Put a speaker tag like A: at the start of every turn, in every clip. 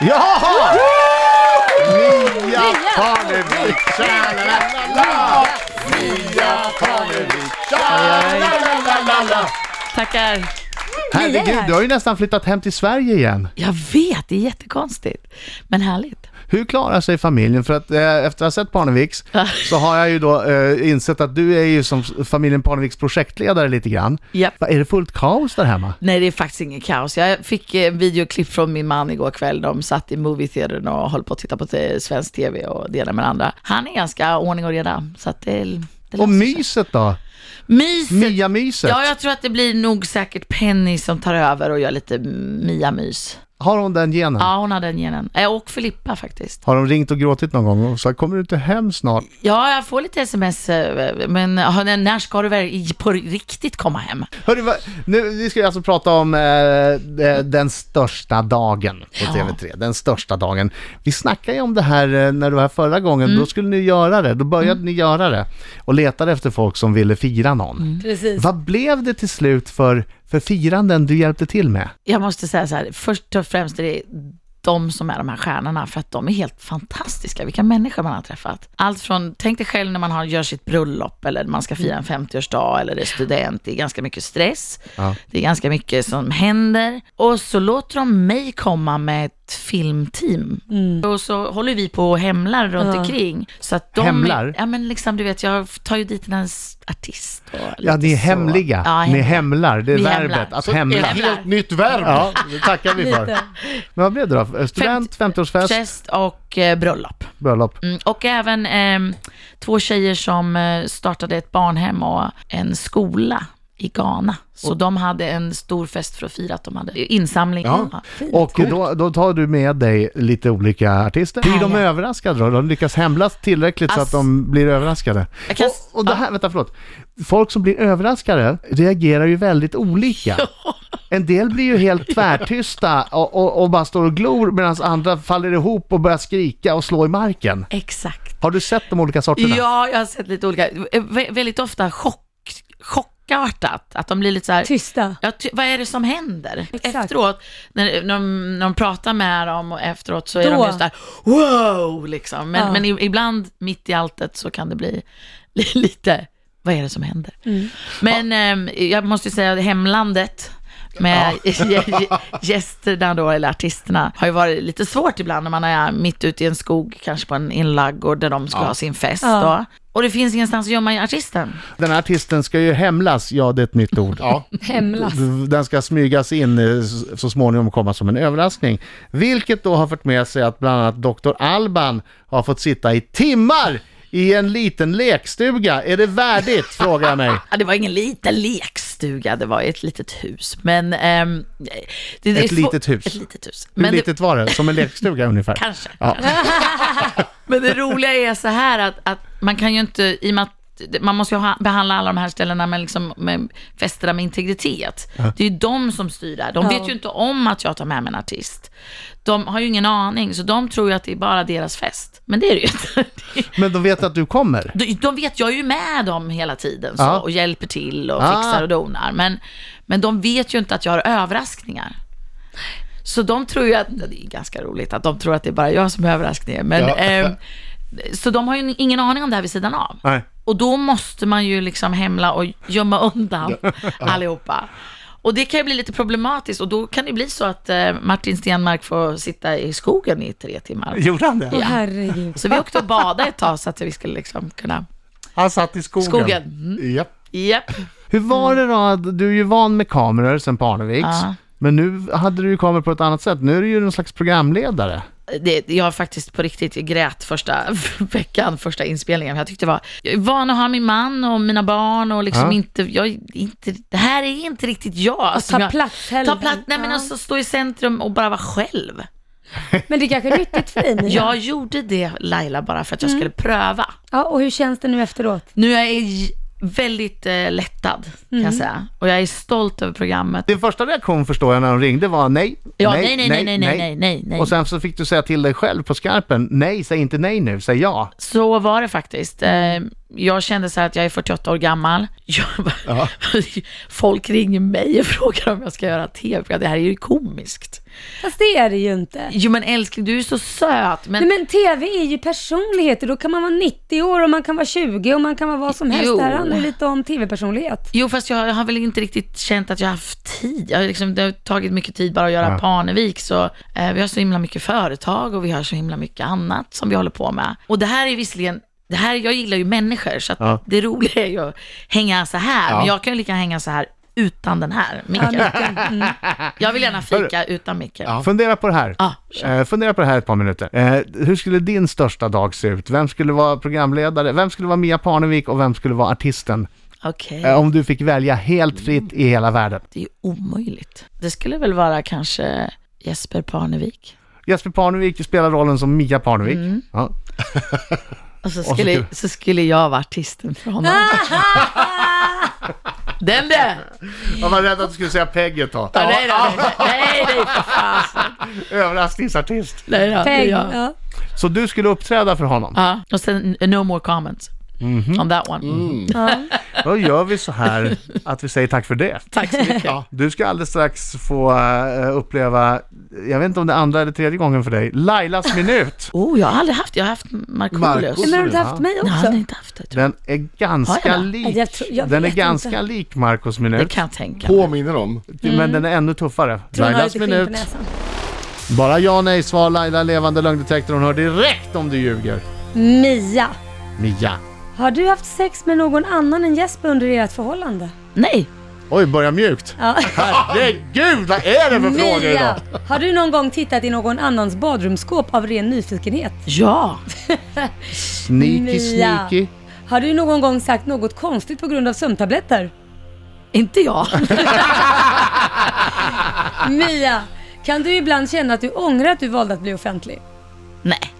A: Jaha! Mia Parnevik! Tja-la-la-la-la! Mia Parnevik! Tja-la-la-la-la-la!
B: Tackar.
A: Herregud, du har ju nästan flyttat hem till Sverige igen.
B: Jag vet, det är jättekonstigt. Men härligt.
A: Hur klarar sig familjen? För att eh, efter att ha sett Parneviks så har jag ju då eh, insett att du är ju som familjen Parneviks projektledare lite grann.
B: Japp.
A: Va, Är det fullt kaos där hemma?
B: Nej, det är faktiskt inget kaos. Jag fick eh, videoklipp från min man igår kväll. De satt i movietheatern och höll på att titta på te- svensk tv och det ena med det andra. Han är ganska ordning och reda. Så att det, det
A: Och
B: löser sig.
A: myset då?
B: Myset.
A: Mia-myset?
B: Ja, jag tror att det blir nog säkert Penny som tar över och gör lite Mia-mys.
A: Har hon den genen?
B: Ja, hon har den genen. Eh, Och Filippa faktiskt.
A: Har de ringt och gråtit någon gång och sagt kommer du inte hem snart?
B: Ja, jag får lite sms, eh, men ja, när- när ska du väl i- på riktigt komma hem?
A: Hörru, va- nu vi ska alltså prata om eh, de- den största dagen på TV3. Den största dagen. Vi snackade ju om det här eh, när du var här förra gången.
B: Mm.
A: Då skulle ni göra det. Då började ni göra det och letade efter folk som ville fira någon.
B: Mm.
C: Precis.
A: Vad blev det till slut för, för firanden du hjälpte till med?
B: Jag måste säga så här, först och främst är det de som är de här stjärnorna, för att de är helt fantastiska. Vilka människor man har träffat. Allt från, tänk dig själv när man har, gör sitt bröllop, eller man ska fira en 50-årsdag, eller är student. Det är ganska mycket stress.
A: Ja.
B: Det är ganska mycket som händer. Och så låter de mig komma med ett filmteam. Och så håller vi på och hemlar runt omkring. Så att de,
A: Hemlar?
B: Ja, men liksom, du vet, jag tar ju dit en ens artist. Och
A: Ja, ni är
B: lite så.
A: hemliga.
B: Ja,
A: ni
B: hemliga.
A: hemlar. Det är
B: Vi
A: verbet,
B: hemlar.
A: att
B: Så-
A: hemla.
B: Ett helt
A: nytt verb. Ja, det tackar vi för.
C: Lite.
A: Men vad blev det då? Student, 50-årsfest,
B: Fest och eh, bröllop.
A: bröllop.
B: Mm, och även ehm, två tjejer som eh, startade ett barnhem och en skola i Ghana. Så de hade en stor fest för att fira att de hade insamling.
A: Ja. Och då, då tar du med dig lite olika artister. Blir de
B: Ja, ja.
A: överraskade då? De lyckas hemlas tillräckligt så
B: Ass-
A: att de blir överraskade.
B: Jag kan s-
A: Och, och det här, vänta förlåt. Folk som blir överraskade reagerar ju väldigt olika. En del blir ju helt tvärtysta och, och, och bara står och glor medan andra faller ihop och börjar skrika och slå i marken.
B: Exakt.
A: Har du sett de olika sorterna?
B: Ja, jag har sett lite olika. Eh, vä- Väldigt ofta chock, chockartat. Att de blir lite så här...
C: Tysta.
B: Ja, ty, vad är det som händer?
C: Exakt.
B: Efteråt, när, när, de, när de pratar med dem och efteråt så är
C: Då.
B: de just där, wow, liksom. Men,
C: Ja.
B: men i- ibland mitt i alltet så kan det bli li, lite, vad är det som händer?
C: Mm.
B: Men ehm, jag måste ju säga, hemlandet med gästerna då, eller artisterna, har ju varit lite svårt ibland när man är mitt ute i en skog, kanske på en inlaggård där de ska ha sin fest
C: Ja.
B: då. Och det finns ingenstans att gömma artisten.
A: Den här artisten ska ju hemlas, ja det är ett nytt ord.
C: Hemlas.
A: Den ska smygas in eh, s- så småningom och komma som en överraskning. Vilket då har fört med sig att bland annat Dr. Alban har fått sitta i timmar i en liten lekstuga. Är det värdigt? frågar jag mig.
B: Ja, det var ingen liten lekstuga, det var ett litet hus. Men, ehm, det, det är
A: Ett
B: svå-
A: litet hus.
B: Ett litet hus.
A: Hur
B: Men
A: litet var det? Som en lekstuga ungefär?
B: Kanske.
A: Ja.
B: Det, men det roliga är så här att, att man kan ju inte, i och med att man måste ju ha, behandla alla de här ställena med, liksom, med festerna med integritet. Det är ju de som styr det här. De
C: Ja.
B: vet ju inte om att jag tar med mig en artist. De har ju ingen aning, så de tror ju att det är bara deras fest. Men det är det ju inte.
A: Men de vet att du kommer?
B: De, de vet, jag är ju med dem hela tiden så,
A: Ja.
B: och hjälper till och
A: Ah.
B: fixar och donar. Men, men de vet ju inte att jag har överraskningar. Så de tror ju att, det är ganska roligt att de tror att det är bara jag som är överraskningen. Men,
A: Ja.
B: ehm, så de har ju ingen aning om det här vid sidan av.
A: Nej.
B: Och då måste man ju liksom hemla och gömma undan allihopa. Och det kan ju bli lite problematiskt och då kan det bli så att eh, Martin Stenmark får sitta i skogen i tre timmar.
A: Gjorde han det?
C: Åh herregud.
B: Så vi åkte och badade ett tag så att vi skulle liksom kunna
A: Han satt i skogen.
B: Skogen. Mm.
A: Japp.
B: Japp.
A: Hur var det då? Du är ju van med kameror sen Parneviks.
B: Mm. Ja.
A: Men nu hade du ju kameror på ett annat sätt. Nu är du ju någon slags programledare.
B: Det, jag har faktiskt på riktigt grät första veckan, första inspelningen. Jag tyckte det var, jag är van att ha min man och mina barn och liksom
A: Ja.
B: inte, jag, är inte, det här är inte riktigt jag. som
C: ta
B: jag
C: plats heller.
B: ta plats, nej men
C: Ja.
B: alltså stå i centrum och bara vara själv.
C: Men det är kanske är nyttigt för dig Mia.
B: Jag gjorde det Laila bara för att jag
C: Mm.
B: skulle pröva.
C: ja. Och hur känns det nu efteråt?
B: Nu är jag j- väldigt eh, lättad kan
C: Mm.
B: jag säga och jag är stolt över programmet.
A: Din första reaktion förstår jag när de ringde var nej,
B: Ja, nej, nej, nej, nej, nej, nej, nej, nej.
A: Och sen så fick du säga till dig själv på skarpen, nej, säg inte nej nu, säg ja.
B: Så var det faktiskt. Eh, Jag kände så här att jag är 48 år gammal. Jag bara, folk ringer mig och frågar om jag ska göra tv-program. Det här är ju komiskt.
C: Fast det är det ju inte.
B: Jo men älskling, du är så söt. Men,
C: Nej men TV är ju personligheter, då kan man vara 90 år och man kan vara 20 och man kan vara vad som helst.
B: Jo.
C: Det här handlar ju lite om TV-personlighet.
B: Jo fast jag, jag har väl inte riktigt känt att jag har haft tid. Jag har liksom, det har tagit mycket tid bara att göra Parnevik. Så, eh, vi har så himla mycket företag och vi har så himla mycket annat som vi håller på med. Och det här är visserligen det här, jag gillar ju människor, så att
A: Ja.
B: det roliga är ju att hänga så här.
A: Ja.
B: Men jag kan ju lika gärna hänga så här utan den här micken. Jag vill gärna fika utan micken.
A: Ja. Fundera på det här.
B: Ja, kör.
A: Eh, fundera på det här ett par minuter. Eh, hur skulle din största dag se ut? Vem skulle vara programledare? Vem skulle vara Mia Parnevik och vem skulle vara artisten?
B: Okej,
A: Eh, om du fick välja helt fritt i hela världen.
B: det är ju omöjligt. Det skulle väl vara kanske Jesper Parnevik.
A: Jesper Parnevik spelar rollen som Mia Parnevik.
B: Mm.
A: Ja.
B: Och så skulle, så, skulle jag vara artisten för honom. Den där!
A: Jag var rädd att du skulle säga Peg ett tag.
B: Ja, nej, nej, nej, nej, nej, för fasen.
A: Överraskningsartist.
B: Nej, ja, det är
C: Peng,
B: jag.
C: ja.
A: Så du skulle uppträda för honom?
B: Ja, och sen eh, no more comments on that one.
A: Då gör vi så här att vi säger tack för det.
B: Tack så mycket.
A: Du ska alldeles strax få eh, uppleva, jag vet inte om det är andra eller tredje gången för dig, Lailas minut.
B: Oh, jag har aldrig haft, jag har haft Markoolios.
D: Markoolio.
C: Men har du inte haft mig
B: Nej,
C: också?
B: han har inte haft det. tror jag.
A: Den är
B: Har
A: ganska
B: jag det?
A: lik,
C: Jag tror- jag
A: den är
C: vet
A: ganska
C: inte. Mm.
A: lik Marcos
B: Det
A: minut,
B: kan jag tänka mig.
D: Påminner om.
A: men den är ännu tuffare.
C: Tror hon har lite skinn på näsan.
A: Bara ja nej svar Laila levande lögndetektor, hon hör direkt om du ljuger.
C: Mia,
A: Mia.
C: har du haft sex med någon annan än Jesper under ert förhållande?
B: Nej,
A: Oj, börja mjukt.
C: Ja.
A: Herregud, vad är det för frågor idag?
C: Mia, har du någon gång tittat i någon annans badrumsskåp av ren nyfikenhet?
B: ja,
A: Sneaky,
C: Mia.
A: sneaky.
C: Har du någon gång sagt något konstigt på grund av sömntabletter?
B: inte jag. Ah.
C: Mia, kan du ibland känna att du ångrar att du valde att bli offentlig?
B: Nej,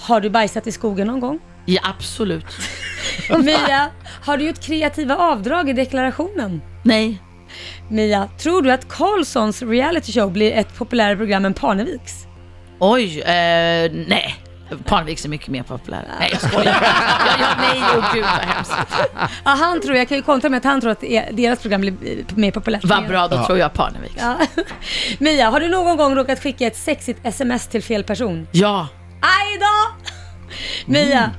C: Har du bajsat i skogen någon gång?
B: ja, absolut.
C: Mia, har du gjort kreativa avdrag i deklarationen?
B: Nej,
C: Mia, tror du att Karlssons reality show blir ett populärare program än Parneviks?
B: Oj, eh, nej. Parneviks är mycket mer populär. Nej, jag skojar. Jag, jag, nej, åh gud vad hemskt.
C: Ja, han tror, jag kan ju kontra med att han tror att det är- deras program blir eh, mer populärt.
B: Vad bra, då tror jag Parneviks. Ja.
C: Ja. Mia, har du någon gång råkat skicka ett sexigt sms till fel person? Aj då! Mia,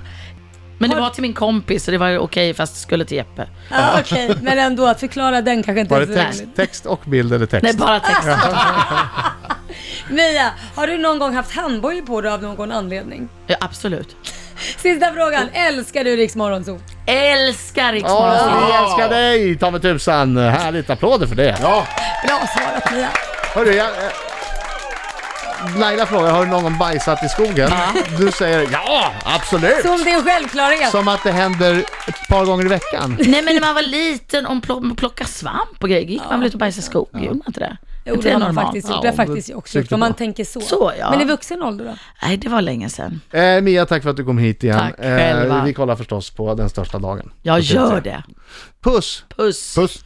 B: Men det var till min kompis så det var okej fast det skulle till Jeppe.
C: ja, okej, men ändå att förklara den kanske inte
A: Var
C: är
A: det
C: så
A: text,
C: roligt.
A: text och bild eller text?
B: Nej, bara text.
C: Mia, har du någon gång haft handbojor på dig av någon anledning?
B: Ja, absolut.
C: Sista frågan, älskar du Riks Morgonzoo?
B: Älskar Rix
A: Åh,
B: Morgonzoo.
A: vi älskar dig, ta mig tusan. Härligt, applåder för det.
D: Ja,
C: Bra svarat Mia.
A: Hörru, jag... eh, Laila frågar, har du någon gång bajsat i skogen? Du säger ja, absolut!
C: Som det är en självklarhet.
A: Som att det händer ett par gånger i veckan.
B: Nej men när man var liten och pl- plockade svamp och grejer, gick man väl ut och bajsade i skogen? Gjorde man inte det?
C: Jo,
B: Inte
C: det har man
B: normalt? oh,
C: faktiskt gjort.
A: Ja,
C: Det har
A: det
C: faktiskt jag också
A: tyckte
C: gjort, om man
A: jag.
C: tänker så.
B: Så, ja.
C: Men i vuxen ålder då?
B: Nej, det var länge sedan.
A: Eh, Mia, tack för att du kom hit igen. Eh,
B: Tack själva.
A: vi kollar förstås på den största dagen.
B: Jag
A: På TV3.
B: gör det.
A: Puss!
B: Puss.
D: puss.